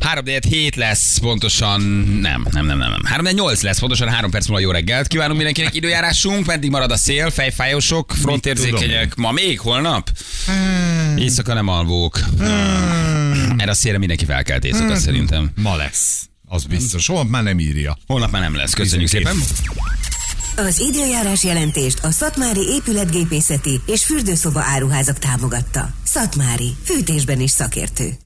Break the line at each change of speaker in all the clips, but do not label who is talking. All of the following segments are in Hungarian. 3 hét lesz, pontosan nem, nem, nem, nem. nem. 3 8 lesz, pontosan 3 perc múlva jó reggelt. Kívánunk mindenkinek időjárásunk, meddig marad a szél, fejfájósok, frontérzékenyek. Ma még, holnap?
Hmm.
Éjszaka nem alvók. Erre a szélre mindenki felkelt éjszaka
Hmm.
szerintem.
Ma lesz. Az biztos. Holnap már nem írja.
Holnap már nem lesz. Köszönjük
Tizenkét.
szépen.
Az időjárás jelentést a Szatmári épületgépészeti és fürdőszoba áruházak támogatta. Szatmári, fűtésben is szakértő.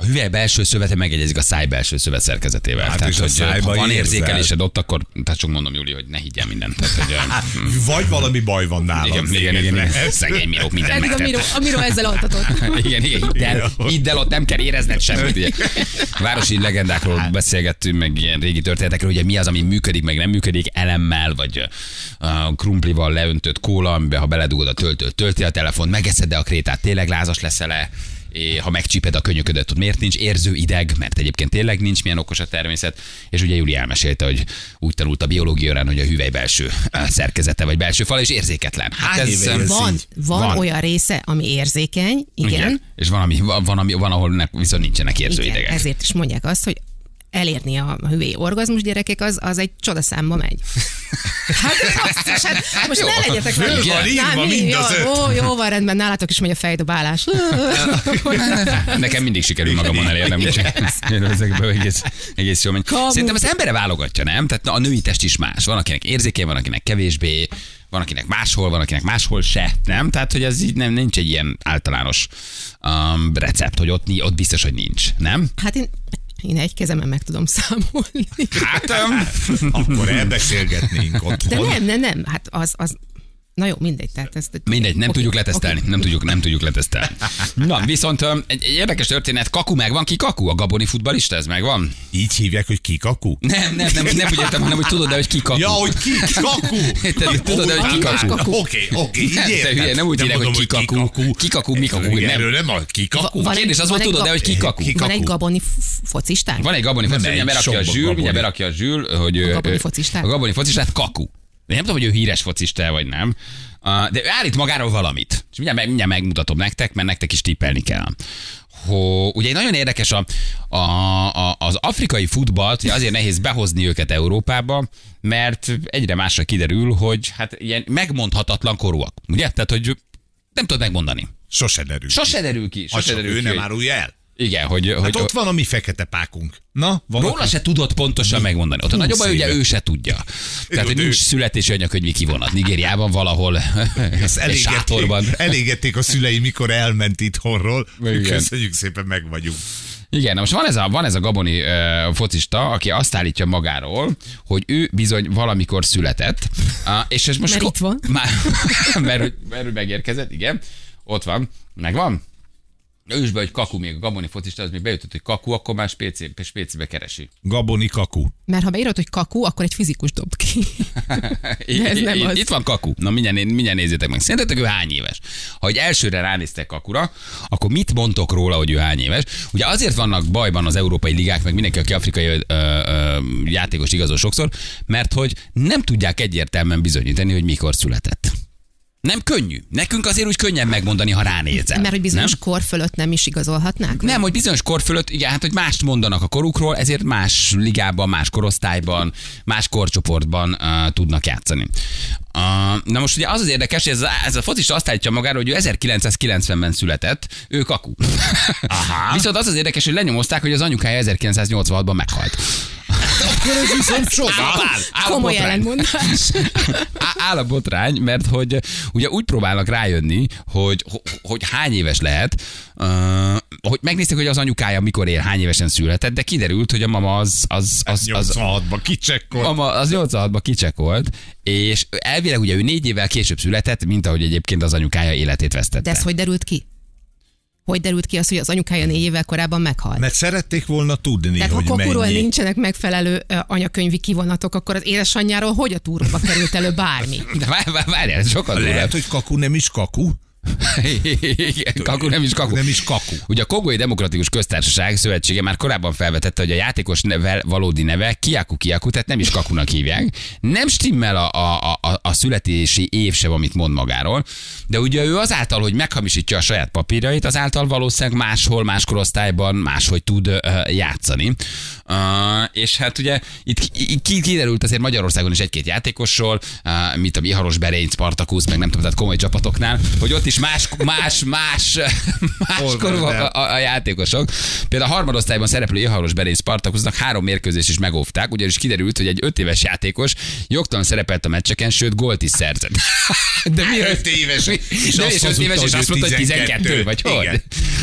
A hüvely belső szövete megegyezik a száj belső szövet szerkezetével.
Hát
tehát,
és a
hogy
szájba
ha van
érzed.
érzékelésed ott, akkor tehát csak mondom, Júli, hogy ne higgyel mindent. Tehát, hogy, mm,
Vagy valami baj van nálam.
igen, igen, igen, igen, szegény Miró mindent
Eddig a Miro,
megtett.
a Miro ezzel altatott.
Hát Igen, igen, hidd el,
Igen.
hidd el, ott nem kell érezned semmit. Ugye. Városi
Hát.
legendákról beszélgettünk, meg ilyen régi történetekről, ugye mi az, ami működik, meg nem működik, elemmel, vagy uh, krumplival leöntött kóla, amiben ha beledugod a töltőt, tölti a telefon, megeszed de a krétát, tényleg lázas leszel-e, É, ha megcsíped a könyöködet, ott miért nincs érző ideg, mert egyébként tényleg nincs milyen okos a természet, és ugye Júli elmesélte, hogy úgy tanult a biológia órán, hogy a hüvely belső eh, szerkezete vagy belső fal, és érzéketlen. Hát
Hány éve élsz
Van,
így?
van,
Van.
van olyan része, ami érzékeny, igen.
Igen. És van, ami, van, ami, van ahol ne, viszont nincsenek érző
igen.
idegek.
Ezért is mondják azt, hogy elérni a hüvely orgazmus gyerekek, az, az egy csodaszámba megy. Hát, azt is, hát most
jó.
ne legyetek
Föl
velem.
van
írva
Nál-
mind az
jó,
öt.
Ó, jó, van rendben, nálatok is megy a fejdobálás.
Nekem mindig sikerül magamon elérnem, úgyhogy ezekből egész, egész jól megy.
Kamu.
Szerintem az embere válogatja, nem? Tehát a női test is más. Van, akinek érzékeny, van, akinek kevésbé, van, akinek máshol, van, akinek máshol se, nem? Tehát, hogy ez így nem, nincs egy ilyen általános um, recept, hogy ott, ni- ott biztos, hogy nincs, nem?
Hát én, én egy kezemen meg tudom számolni.
Hát, um,
Akkor elbeszélgetnénk ott.
De nem, nem, nem, hát az, az Na jó, mindegy, tehát ezt...
Mindegy, nem
Oké,
tudjuk
oké.
letesztelni. Nem tudjuk, nem tudjuk letesztelni. Na, viszont öm, egy, egy érdekes történet. Kaku megvan ki Kaku? A gaboni futbalista, ez megvan?
Így hívják, hogy kikaku?
Nem, nem, nem, nem úgy értem, hanem hogy tudod-e, hogy ki Kaku.
Ja, hogy kikaku!
Te tudod-e, hogy ki Kaku?
Oké, oké, így
Nem, te
értem.
hülye, nem úgy írják, hogy kikaku. Kikaku, mikaku,
Igen,
nem.
Erről nem a kikaku?
Van
kérdés
egy-
az volt,
van egy
tudod-e,
gab-
hogy ki Kaku?
Ki
Van
Kaku?
egy gaboni f- focistánk?
Van egy gaboni
Nem
focista,
egy,
mindjárt berakja a
sok
zsűl,
gaboni.
mindjárt berakja a zsűl, hogy... ö,
gaboni
ö,
focistát?
A gaboni focistát kaku. Én nem tudom, hogy ő híres focista vagy nem. Ah, De ő állít magáról valamit. És mindjárt, meg, mindjárt megmutatom nektek, mert nektek is tippelni kell. Hó, ugye nagyon érdekes a, a, a, az afrikai futballt, ugye azért nehéz behozni őket Európába, mert egyre másra kiderül, hogy hát ilyen megmondhatatlan korúak. Ugye? Tehát, hogy nem tudod megmondani.
Sose derül.
Sose derül ki.
Ha
Sose
csak
derül
ő
ki,
nem
hogy-
árulja el.
Igen, hogy,
Hát
hogy
ott van a mi fekete pákunk. Na, van
Róla se tudott pontosan megmondani. Ott a nagyobb baj,
éve.
ugye ő se tudja. Tehát, hogy
ő-
nincs születési anyakönyvi kivonat. Nigériában valahol egy sátorban.
elégették, elégették a szülei, mikor elment itthonról.
Igen.
Köszönjük szépen, meg vagyunk.
Igen, na most van ez a, van ez a gaboni uh, focista, aki azt állítja magáról, hogy ő bizony valamikor született. Uh, és ez most
Mert itt van.
Már, mert, hogy- mert ő megérkezett, igen. Ott van. Megvan? Ős be, hogy kaku még a gaboni focista, az még beütött, hogy kaku, akkor már spéci, spécibe keresi.
Gaboni kaku.
Mert ha beírod, hogy kakú, akkor egy fizikus dob ki.
Hát,
De ez nem
itt,
az.
itt van Kaku. Na mindjárt, mindjárt nézzétek meg. Szerintetek ő hány éves? Ha egy elsőre ránéztek Kakura, akkor mit mondtok róla, hogy ő hány éves? Ugye azért vannak bajban az európai ligák, meg mindenki, aki afrikai ö, ö, játékos igazol sokszor, mert hogy nem tudják egyértelműen bizonyítani, hogy mikor született. Nem könnyű. Nekünk azért úgy könnyen megmondani, ha ránézel.
Mert hogy bizonyos
nem?
kor fölött nem is igazolhatnák?
Nem, hogy bizonyos kor fölött, igen, hát hogy mást mondanak a korukról, ezért más ligában, más korosztályban, más korcsoportban uh, tudnak játszani. Uh, na most ugye az az érdekes, hogy ez, a- ez a focista azt állítja magára, hogy ő 1990-ben született, ő kaku. Aha. Viszont az az érdekes, hogy lenyomozták, hogy az anyukája 1986-ban meghalt.
Akkor ez viszont
Áll- áll a
Komoly
botrány.
ellentmondás.
Á- áll a botrány, mert hogy eh, ugye úgy próbálnak rájönni, hogy, hogy hány éves lehet, ö, hogy megnézték, hogy az anyukája mikor él, hány évesen született, de kiderült, hogy a mama az, az,
Hát
az, az,
86-ban kicsekkol.
Mama az 86-ban kicsekolt, és elvileg ugye ő négy évvel később született, mint ahogy egyébként az anyukája életét vesztette.
De ez hogy derült ki? Hogy derült ki az, hogy az anyukája négy évvel korábban meghalt?
Mert szerették volna tudni,
Tehát ha
hogy
kakuról
mennyi.
nincsenek megfelelő ö, anyakönyvi kivonatok, akkor az édesanyjáról hogy a túróba került elő bármi?
De várjál, várjál, ez sokat
Lehet,
durvább.
hogy kaku nem is kaku.
Igen, kaku nem is kaku.
Nem is kaku.
Ugye a Kongói Demokratikus Köztársaság Szövetsége már korábban felvetette, hogy a játékos neve, valódi neve Kiaku Kiaku, tehát nem is kakunak hívják. Nem stimmel a, a, a, a születési év sem, amit mond magáról, de ugye ő azáltal, hogy meghamisítja a saját papírjait, azáltal valószínűleg máshol, más korosztályban máshogy tud ö, ö, játszani. Ö, és hát ugye itt ki- ki- kiderült azért Magyarországon is egy-két játékosról, ö, mint a Miharos Berény, Spartakusz, meg nem tudom, tehát komoly csapatoknál, hogy ott is más, más, más, más korúak a, a, a játékosok. Például a harmadosztályban szereplő Iharos Berén Spartakusznak három mérkőzés is megóvták, ugyanis kiderült, hogy egy öt éves játékos jogtalan szerepelt a meccseken, sőt gólt is szerzett. De mi
Öt éves,
Mi,
és
de
azt
és öt
hazudta,
éves, és
hogy ő
azt mondta, hogy 12,
12,
vagy hogy?
igen.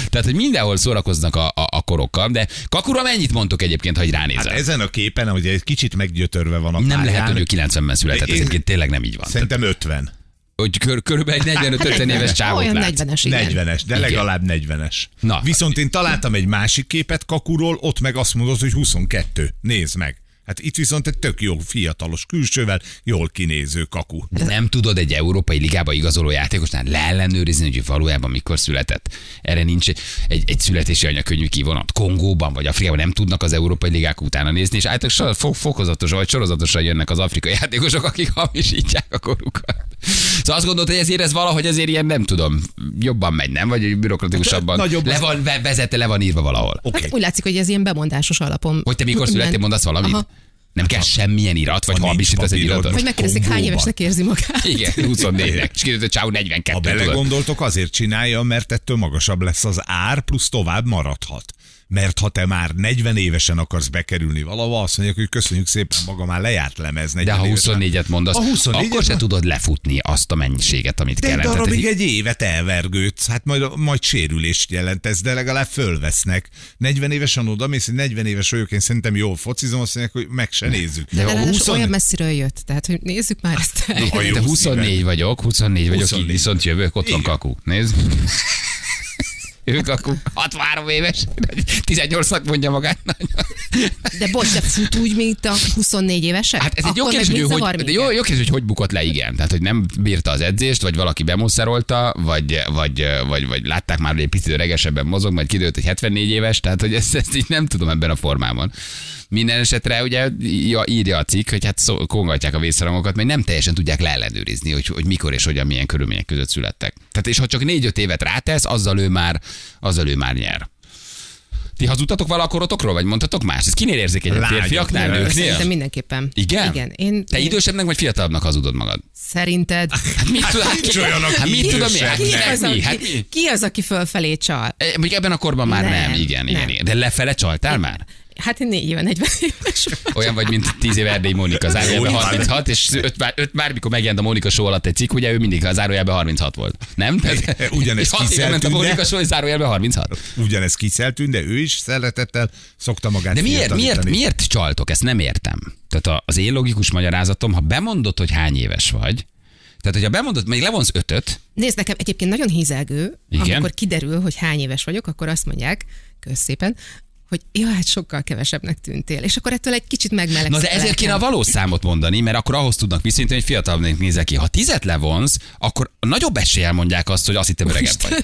Tehát, hogy mindenhol szórakoznak a, a, a korokkal, de Kakura mennyit mondtok egyébként, ha így ránézel?
Hát ezen a képen, hogy egy kicsit meggyötörve van a
nem
pályán.
lehet, hogy ő 90-ben született, ez
Én-
egyébként tényleg nem így van.
Szerintem 50.
Hogy kör, körülbelül egy 45 éves csávot
Hát Olyan
látsz.
40-es, igen.
40-es, de
Igen.
legalább 40-es.
Na.
Viszont én találtam egy másik képet kakuról, ott meg azt mondod, hogy 22. Nézd meg. Hát itt viszont egy tök jó fiatalos külsővel, jól kinéző kaku.
De nem tudod egy európai ligába igazoló játékosnál leellenőrizni, hogy ő valójában mikor született. Erre nincs egy, egy születési anyakönyvű kivonat. Kongóban vagy Afrikában nem tudnak az európai ligák utána nézni, és általában sor- fo- fokozatosan vagy sorozatosan jönnek az afrikai játékosok, akik hamisítják a korukat. Szóval azt gondolod, hogy ezért ez valahogy ezért ilyen nem tudom, jobban megy, nem? Vagy hogy bürokratikusabban.
Hát, nagyobb
le
az-
van, ve- vezete, le van írva valahol.
Oké.
Hát úgy látszik, hogy ez ilyen bemondásos alapon.
Hogy te mikor
Minden-
születtél, mondasz valamit?
Aha.
Nem kell semmilyen irat, vagy
Ha nincs
hamisítasz egy
papírod,
iratot.
Vagy megkérdezik, hány
Kongóban.
évesnek érzi magát.
Igen, 24-nek. És kiderült, hogy csáó
Ha
42 tudod.
belegondoltok, azért csinálja, mert ettől magasabb lesz az ár, plusz tovább maradhat. Mert ha te már 40 évesen akarsz bekerülni valahova, azt mondják, hogy köszönjük szépen, maga már lejárt lemez. 40
De ha
évesen.
24-et mondasz,
A 24-et
akkor se
mondasz?
tudod lefutni azt a mennyiséget, amit
De egy
kellene. Tehát
darabig
egy-
egy évet elvergődsz, hát majd, majd sérülést jelent ez, de legalább fölvesznek. 40 évesen oda mész, hogy 40 éves vagyok, én szerintem jól focizom, azt mondják, hogy meg se nézzük.
De
De
a
ráadásul
20
olyan messziről jött, tehát hogy nézzük már ezt. el.
de
jó,
24 vagyok, 24 vagyok,
24.
így viszont jövök, ott van
Igen.
kaku. Nézd. Ő kaku, 63 éves, 18-nak mondja magát.
De bocs, de fut úgy, mint a 24 évesek?
Hát ez egy jó
Akkor
kérdés, hogy, ő
megnézze
hogy,
30-et.
de jó, jó kérdés, hogy hogy bukott le, igen. Tehát, hogy nem bírta az edzést, vagy valaki bemoszerolta, vagy, vagy, vagy, vagy látták már, hogy egy picit öregesebben mozog, majd kiderült, hogy 74 éves, tehát, hogy ezt, ezt így nem tudom ebben a formában. Minden esetre ugye ja, írja a cikk, hogy hát szó, kongatják a vészharangokat, mert nem teljesen tudják leellenőrizni, hogy, hogy mikor és hogyan, milyen körülmények között születtek. Tehát és ha csak 4-5 évet rátesz, azzal ő már, azzal ő már nyer. Ti hazudtatok vala a korotokról, vagy mondtatok más? Ez kinél érzékenyebb?
Lágy,
Férfiaknál,
igen.
nőknél?
Szerintem mindenképpen.
Igen?
Igen. Én,
Te
én
idősebbnek vagy fiatalabbnak hazudod magad?
Szerinted?
Hát mit tud, hát,
nincs olyan, aki
hát mit tudom én? Hát
idősebb.
Ki
kinek
az,
mi?
aki,
Hát mi?
ki az, aki fölfelé csal?
E, Mondjuk ebben a korban már nem,
Nem,
igen, igen,
nem.
igen. De lefele csaltál már?
Hát én négy éve, 40 éves. vagyok.
Olyan vagy, mint 10 év Erdély Mónika, zárójelben
Jó,
36, és 5 már, öt már, mikor megjelent a Mónika show alatt egy cikk, ugye ő mindig a zárójelben 36 volt. Nem? Tehát,
ugyanezt
hat éve ment a
kiszeltünk,
Mónika
de- Hát
show, és zárójelben 36.
Ugyanez kiszeltűn, de ő is szeretettel szokta magát
De miért, miért,
fiatalítani.
miért csaltok? Ezt nem értem. Tehát a- az én logikus magyarázatom, ha bemondod, hogy hány éves vagy, tehát, hogyha bemondod, még levonsz ötöt,
Nézd, nekem egyébként nagyon hízelgő,
Igen?
amikor kiderül, hogy hány éves vagyok, akkor azt mondják, kösz szépen, hogy jó, hát sokkal kevesebbnek tűntél. És akkor ettől egy kicsit megmelegszik.
Na de
a
ezért
lelkem.
kéne a valós számot mondani, mert akkor ahhoz tudnak viszinteni, hogy fiatalabbnak nézel ki. Ha tizet levonsz, akkor nagyobb eséllyel mondják azt, hogy azt hittem öregebb vagy.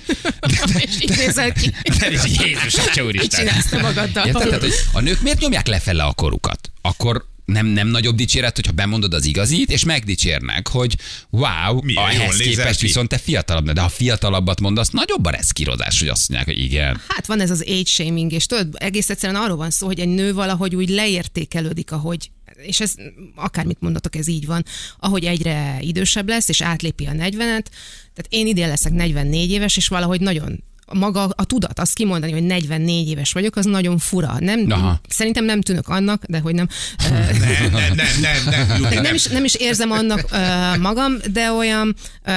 És így nézel ki.
De ez így, Jézus, atya
Mit
úristen.
csinálsz te magaddal?
Érted? Tehát, hogy a nők miért nyomják lefele a korukat? Akkor nem, nem nagyobb dicséret, hogyha bemondod az igazit, és megdicsérnek, hogy wow,
Milyen jól
ahhez
nézel
képest
ki.
viszont te fiatalabb, de ha fiatalabbat mondasz, nagyobb a reszkírozás, hogy azt mondják, hogy igen.
Hát van ez az age shaming, és tudod, egész egyszerűen arról van szó, hogy egy nő valahogy úgy leértékelődik, ahogy és ez akármit mondatok, ez így van, ahogy egyre idősebb lesz, és átlépi a 40-et, tehát én idén leszek 44 éves, és valahogy nagyon maga a tudat, azt kimondani, hogy 44 éves vagyok, az nagyon fura. Nem,
Aha.
Szerintem nem tűnök annak, de hogy nem. Ö,
Nem, nem, nem, nem, nem, Júli,
tehát
nem.
nem, is, nem is érzem annak ö, magam, de olyan ö,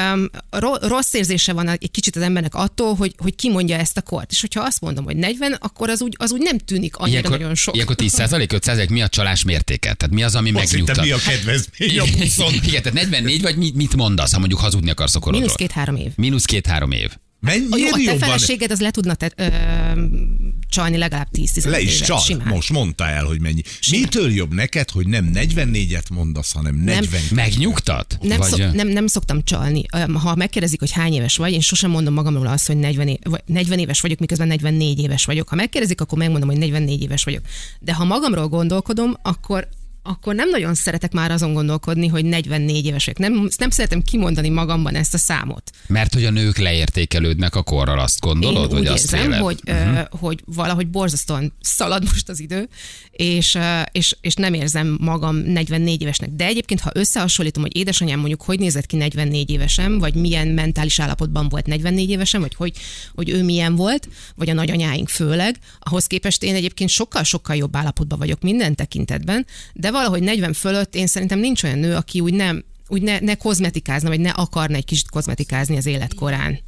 ro- rossz érzése van egy kicsit az embernek attól, hogy, hogy kimondja ezt a kort. És hogyha azt mondom, hogy 40, akkor az úgy, az úgy nem tűnik annyira
Ilyenkor,
nagyon sok.
ilyenkor 10%, 5% mi a csalás mértéke? Tehát mi az, ami
Azt hittem,
megnyugtat?
mi a kedvezmény a buszon.
Igen, tehát 44 vagy mit, mit mondasz, ha mondjuk hazudni akarsz a korodról?
Mínusz két-három év.
Mínusz két-három év.
A, jó, a
Mennyire
te
jobban?
feleséged az le tudna te, ö, csalni legalább 10-15
Le is
évet,
csal.
simán.
Most mondta el, hogy mennyi. Mitől jobb neked, hogy nem 44-et mondasz, hanem 40
Megnyugtat?
Nem,
Vagy,
szok,
ö,
nem, nem szoktam csalni. Öm, Ha megkérdezik, hogy hány éves vagy, én sosem mondom magamról azt, hogy 40, é- vagy 40 éves vagyok, miközben 44 éves vagyok. Ha megkérdezik, akkor megmondom, hogy 44 éves vagyok. De ha magamról gondolkodom, akkor akkor nem nagyon szeretek már azon gondolkodni, hogy 44 éves vagyok. Nem, nem szeretem kimondani magamban ezt a számot.
Mert hogy a nők leértékelődnek a korral, azt gondolod?
Én
vagy
úgy
azt Mhm.
érzem,
véled?
hogy, uh-huh. hogy valahogy borzasztóan szalad most az idő, és, ö, és, és nem érzem magam 44 évesnek. De egyébként, ha összehasonlítom, hogy édesanyám mondjuk hogy nézett ki 44 évesen, vagy milyen mentális állapotban volt 44 évesen, vagy hogy, hogy ő milyen volt, vagy a nagyanyáink főleg, ahhoz képest én egyébként sokkal-sokkal jobb állapotban vagyok minden tekintetben, de valahogy 40 fölött én szerintem nincs olyan nő, aki úgy nem úgy ne, ne kozmetikázna, vagy ne akarna egy kicsit kozmetikázni az életkorán.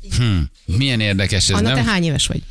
Milyen érdekes ez,
Anna, te
nem?
hány éves vagy?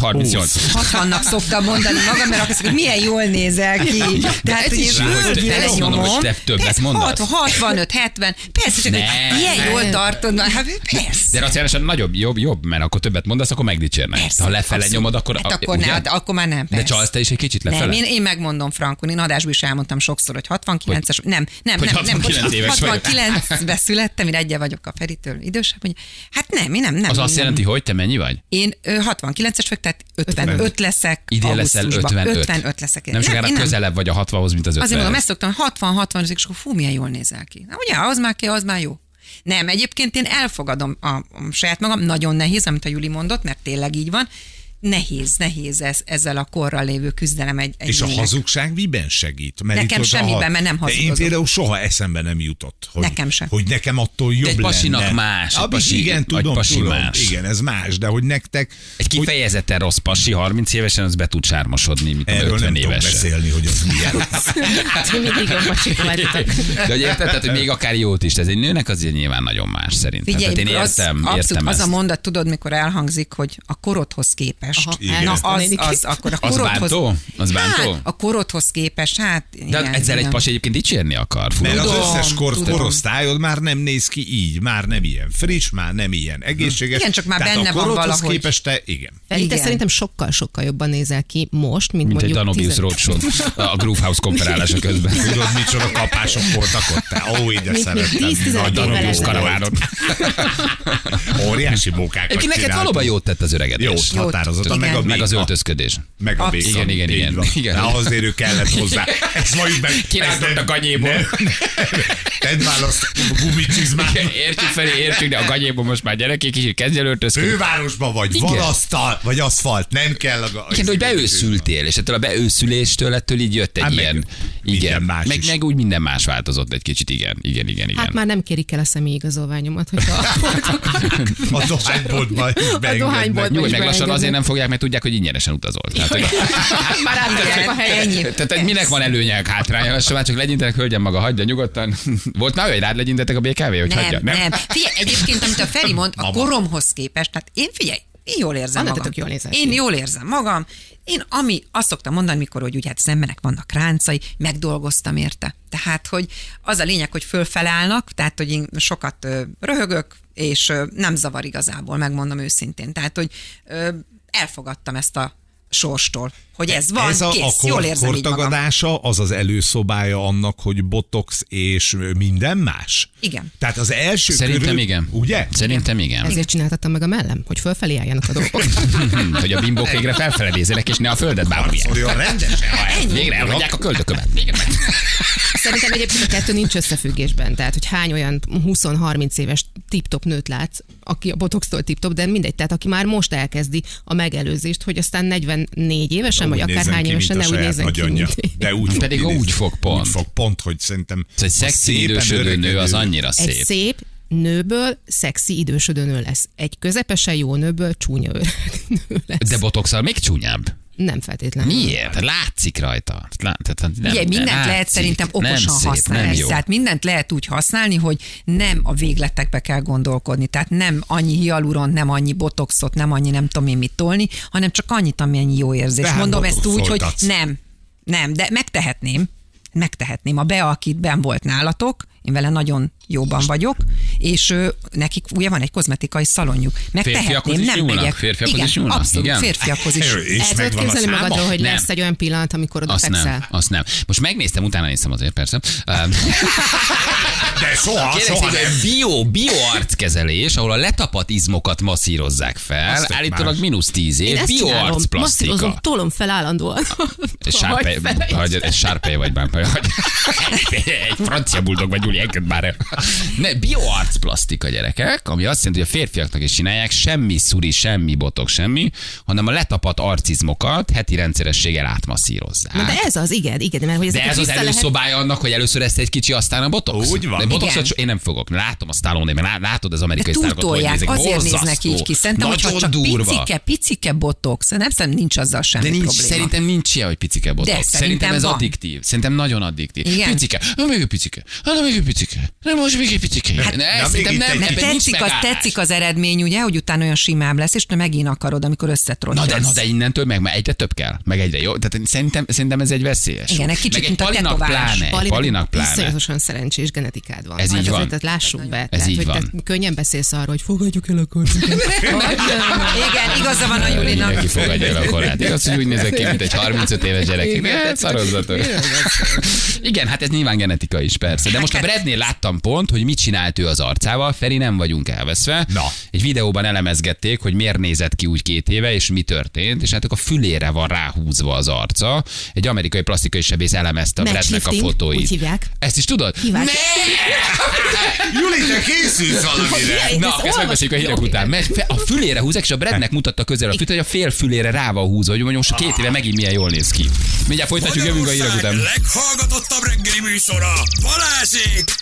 38.
60-nak szoktam mondani magam, mert akkor azt mondja, hogy milyen jól nézel ki. De hát, hogy én
Rá, hogy te-
földre
én azt mondom,
lenyomom.
hogy te többet
Persze,
mondasz.
60, 65, 70, persze, csak
Ne,
hogy ilyen
ne.
jól tartod. Hát persze.
De racionálisan nagyobb, jobb, jobb, mert akkor többet mondasz, akkor megdicsérnek.
Persze,
De ha lefele
abszolút.
nyomod, akkor...
Hát akkor,
ugye?
ne, hát akkor már nem,
De
persze.
csalsz te is egy kicsit lefele?
Nem, én, én megmondom Frankon, én adásban is elmondtam sokszor, hogy 69-es, nem, nem,
hogy
nem, nem,
69 éves vagyok.
69-ben születtem, én egyen vagyok a Feritől idősebb, mondja, hát nem, én nem, nem.
Az
én
azt
nem.
jelenti, hogy te mennyi vagy?
Én ö, 69-es vagyok, tehát 55 leszek
Idén leszel
augusztusban.
55.
55 leszek.
Nem sokára
én
közelebb vagy a 60-hoz, mint az 50
Azért mondom, ezt szoktam, 60-60, és akkor fú, milyen jól nézel ki. Na ugye, az már ki, az már jó. Nem, egyébként én elfogadom a, a saját magam, nagyon nehéz, amit a Juli mondott, mert tényleg így van. Nehéz, nehéz ez, ezzel a korral lévő küzdelem egy, egy
És a
nőnek.
hazugság miben segít? Mert
Nekem
itt az a
semmiben,
hat-
mert nem
De Én
hazudozom.
például soha eszembe nem jutott, hogy,
Nekem sem.
hogy nekem attól jobb
egy pasinak
lenne.
más, egy
Abi,
pasi-
igen,
egy
tudom,
pasi
tudom.
más.
Igen, ez más, de hogy nektek...
Egy
hogy
kifejezetten rossz pasi, 30 évesen, az be tud sármosodni, mint a
Erről nem
50
tudok
évesen.
beszélni, hogy az milyen.
Hát mi mindig jobban hát, sikoltatok.
De hogy érted, tehát, hogy még akár jót is, ez egy nőnek azért nyilván nagyon más szerintem.
Figyelj,
tehát én
az,
értem,
abszolút,
értem
az
ezt.
a mondat, tudod, mikor elhangzik, hogy a korodhoz képest.
Aha,
Igen.
Na,
elnéztem
az,
én
az,
is.
akkor a
Az
korodhoz...
bántó? Az bántó?
Hát, a korodhoz képest, hát...
De
igen,
ezzel egy
igen.
pasi egyébként dicsérni akar. furcsa.
Mert az
Tudom,
összes kor,
tudom.
korosztályod már nem néz ki így, már nem ilyen friss, már nem ilyen egészséges.
Igen, csak már
Tehát
benne
a
van
korodhoz
valahogy.
képest te, igen.
Feri, te
Igen.
szerintem sokkal-sokkal jobban nézel ki most, mint,
Mint egy
mondjuk...
Danobius
tizen-
Roadshow a Groovehouse konferálása közben.
Tudod, micsoda kapások voltak ott? Te, ó, ide
Mint még
szerettem.
10-11
Nagy darabos
évvel ezelőtt.
karavánon. Óriási bókákat
Egyébként neked
csináltunk.
valóban jót tett az öregedés.
Jót, határozottan,
igen.
meg a
Meg az
béka.
öltözködés.
Meg a
Abszolút.
béka.
Igen, igen,
Így
igen.
van.
Igen.
Na, azért ő kellett hozzá. Ezt valljuk meg.
Kirántott a ganyéból.
Ne- ne- Tedd választ a gumicsizmát.
Igen, Értjük felé, értjük, de a ganyéban most már gyerekek kicsit kezdjen öltözködni.
Fővárosban vagy,
Igen.
van asztal, vagy aszfalt, nem kell a...
Igen, de hogy beőszültél, és ettől a beőszüléstől ettől így jött egy
Hát meg
ilyen. igen.
minden más
meg,
is.
meg úgy minden más változott egy kicsit, igen, igen, igen, igen.
Hát már nem kérik el a személyi igazolványomat, hogyha a
A dohányboltban is beengednek.
dohányboltban
Nyugodj meg
is
lassan,
beengednek.
azért nem fogják, mert tudják, hogy ingyenesen utazol. Tehát, Hát, hogy,
Már átvettek a helyet.
Ennyi.
tehát, hogy minek van előnyek, hátránya, lassan már hát csak legyintenek, hölgyem maga, hagyja nyugodtan. Volt már olyan, hogy rád legyintettek a BKV, hogy
Nem,
hagyja?
nem, nem. Figyelj, egyébként, amit a Feri mond, a
Mama.
koromhoz képest, tehát én figyelj, én jól érzem
Anna, te
magam.
tök jól nézel
én
ki.
jól érzem magam. Én ami, azt szoktam mondani, mikor, hogy ugye hát az embernek vannak ráncai, megdolgoztam érte. Tehát, hogy az a lényeg, hogy fölfelállnak, tehát, hogy én sokat ö, röhögök, és ö, nem zavar igazából, megmondom őszintén. Tehát, hogy ö, elfogadtam ezt a sorstól, hogy ez van,
E, ez a,
kész,
a kor,
jól érzem így magam.
kortagadása az az előszobája annak, hogy botox és minden más?
Igen.
Tehát az első
Szerintem
körül,
igen.
Ugye?
Szerintem igen.
Ezért csináltattam meg a mellem, hogy fölfelé álljanak a dolgok.
Hm, hogy a bimbók végre felfele nézzenek, és ne a földet bámulják.
Szóljon Szóval, rendesen. ha el-
Végre elhagyják a köldökömet. Végre meg.
Szerintem egyébként a kettő nincs összefüggésben, tehát hogy hány olyan 20-30 éves tip-top nőt látsz, aki a botoxtól tip-top, de mindegy, tehát aki már most elkezdi a megelőzést, hogy aztán 44 évesen, vagy
Úgy
akár
nézem
hány
ki,
évesen,
mint
ne
a
úgy
saját
nézzen ki.
nagyanyja.
mint-
De úgy fog
Pedig
kinézni.
úgy fog pont.
Úgy fog pont, hogy szerintem...
Ez egy
a
szexi
szépen
idősödő
öregedő-
nő az annyira
Egy
szép.
szép nőből szexi idősödő nő lesz. Egy közepesen jó nőből csúnya öreg nő lesz.
De botoxal még csúnyább.
Nem feltétlenül.
Miért? Hát Látszik rajta. Tehát lá- tehát nem-
Ugye mindent
látszik.
lehet szerintem okosan
nem szép,
használni.
Nem jó.
Tehát mindent lehet úgy használni, hogy nem a végletekbe kell gondolkodni. Tehát nem annyi hialuron, nem annyi botoxot, nem annyi nem tudom én mit tolni, hanem csak annyit, amennyi jó érzés.
De hát
Mondom ezt
botox
úgy, hogy
szoltatsz.
nem, nem, de megtehetném. Megtehetném. A Bea, akit ben volt nálatok, Én vele nagyon jóban vagyok, és ö, nekik ugye van egy kozmetikai szalonjuk. Meg
Férfiakhoz
tehetném,
is
nem
nyúlnak?
megyek.
Férfiakhoz
Igen,
is nyúlnak?
abszolút,
Igen?
férfiakhoz is.
Ő is
El tudod
megvan a
képzelni
száma?
magadról, hogy
Nem.
lesz egy olyan pillanat, amikor oda
Azt nem,
fekszel.
azt nem. Most megnéztem, utána néztem azért persze. Um,
De soha,
Kérlek
soha
szépen,
nem.
bio, bio arckezelés, ahol a letapadt izmokat masszírozzák fel,
Azt
állítólag
más.
mínusz 10
Én
év,
ezt
bio
csinálom, masszírozom,
arcplasztika.
tolom fel állandóan.
Egy Sárpely,
Vagy fele.
vagy, egy sárpely vagy már. Vagy, egy francia buldog vagy, Gyuri, engedd már el. Ne, bioarcplasztika gyerekek, ami azt jelenti, hogy a férfiaknak is csinálják, semmi szuri, semmi botok, semmi, hanem a letapadt arcizmokat heti rendszerességgel átmasszírozzák.
Na de ez az, igen, igen, mert hogy
De
ezeket
ez az
vissza lehet-
előszobája annak, hogy először ezt egy kicsi, aztán a botox.
Úgy van.
De botoxot
Igen.
so- én nem fogok. Látom a stallone mert lá- látod az amerikai
De
sztárokat, hogy
túltolják,
nézek.
azért
Borzasztó.
néznek így ki. Szerintem,
Nagyon
hogyha csak
durva.
picike, picike botox, nem szerintem nincs azzal semmi
de nincs,
probléma.
szerintem nincs ilyen, hogy picike botox.
De,
szerintem,
szerintem
ez
van.
addiktív. Szerintem nagyon addiktív.
Igen.
Picike. Na, még egy picike. Na, még egy picike. Na, most még egy picike. Hát, ne,
na,
szerintem
még itt
nem,
egy
nem,
kicsit.
ebben nincs
Tetszik az,
megállás.
tetszik az eredmény, ugye, hogy utána olyan simább lesz, és te megint akarod, amikor
Na
összetrottyolsz.
de, na de innentől meg már egyre több kell, meg egyre jó. Tehát szerintem, szerintem ez egy veszélyes.
Igen, egy
Meg
kicsit, mint a
palinak
tetoválás.
pláne,
Palinak-
Palinak pláne.
Iszonyatosan szerencsés genetikád van.
Ez
Hát
így
azért,
van.
Tehát lássuk be.
Ez
tehát,
így
hogy te
van.
könnyen beszélsz arról, hogy fogadjuk el a kórházat.
Igen, igaza van a Julinak.
Mindenki fogadja el a korát. Igaz, hogy úgy nézek ki, mint egy 35 éves gyerek.
Igen,
Hát,
tehát-
szarozzatok. Igen, hát ez nyilván genetika is, persze. De most a Brednél láttam pont, hogy mit csinált ő az arcával. Feri, nem vagyunk elveszve.
Na.
Egy videóban elemezgették, hogy miért nézett ki úgy két éve, és mi történt. És hát akkor a fülére van ráhúzva az arca. Egy amerikai plastikai sebész elemezte a Brednek a
Matchlifting,
fotóit.
úgy hívják.
Ezt is tudod?
Hívják.
Juli, te készülsz valamire.
Jaj,
Na,
ezt
ezt megbeszéljük a hírek
olvasni-
után. Mert fe- a fülére húzek, és a Brednek mutatta közel a füt, hogy a fél fülére rá van húzva, hogy mondjuk most két éve megint milyen jól néz ki. Mindjárt folytatjuk, jövünk a hírek után.
leghallgatottabb reggeli műsora, Balázsék!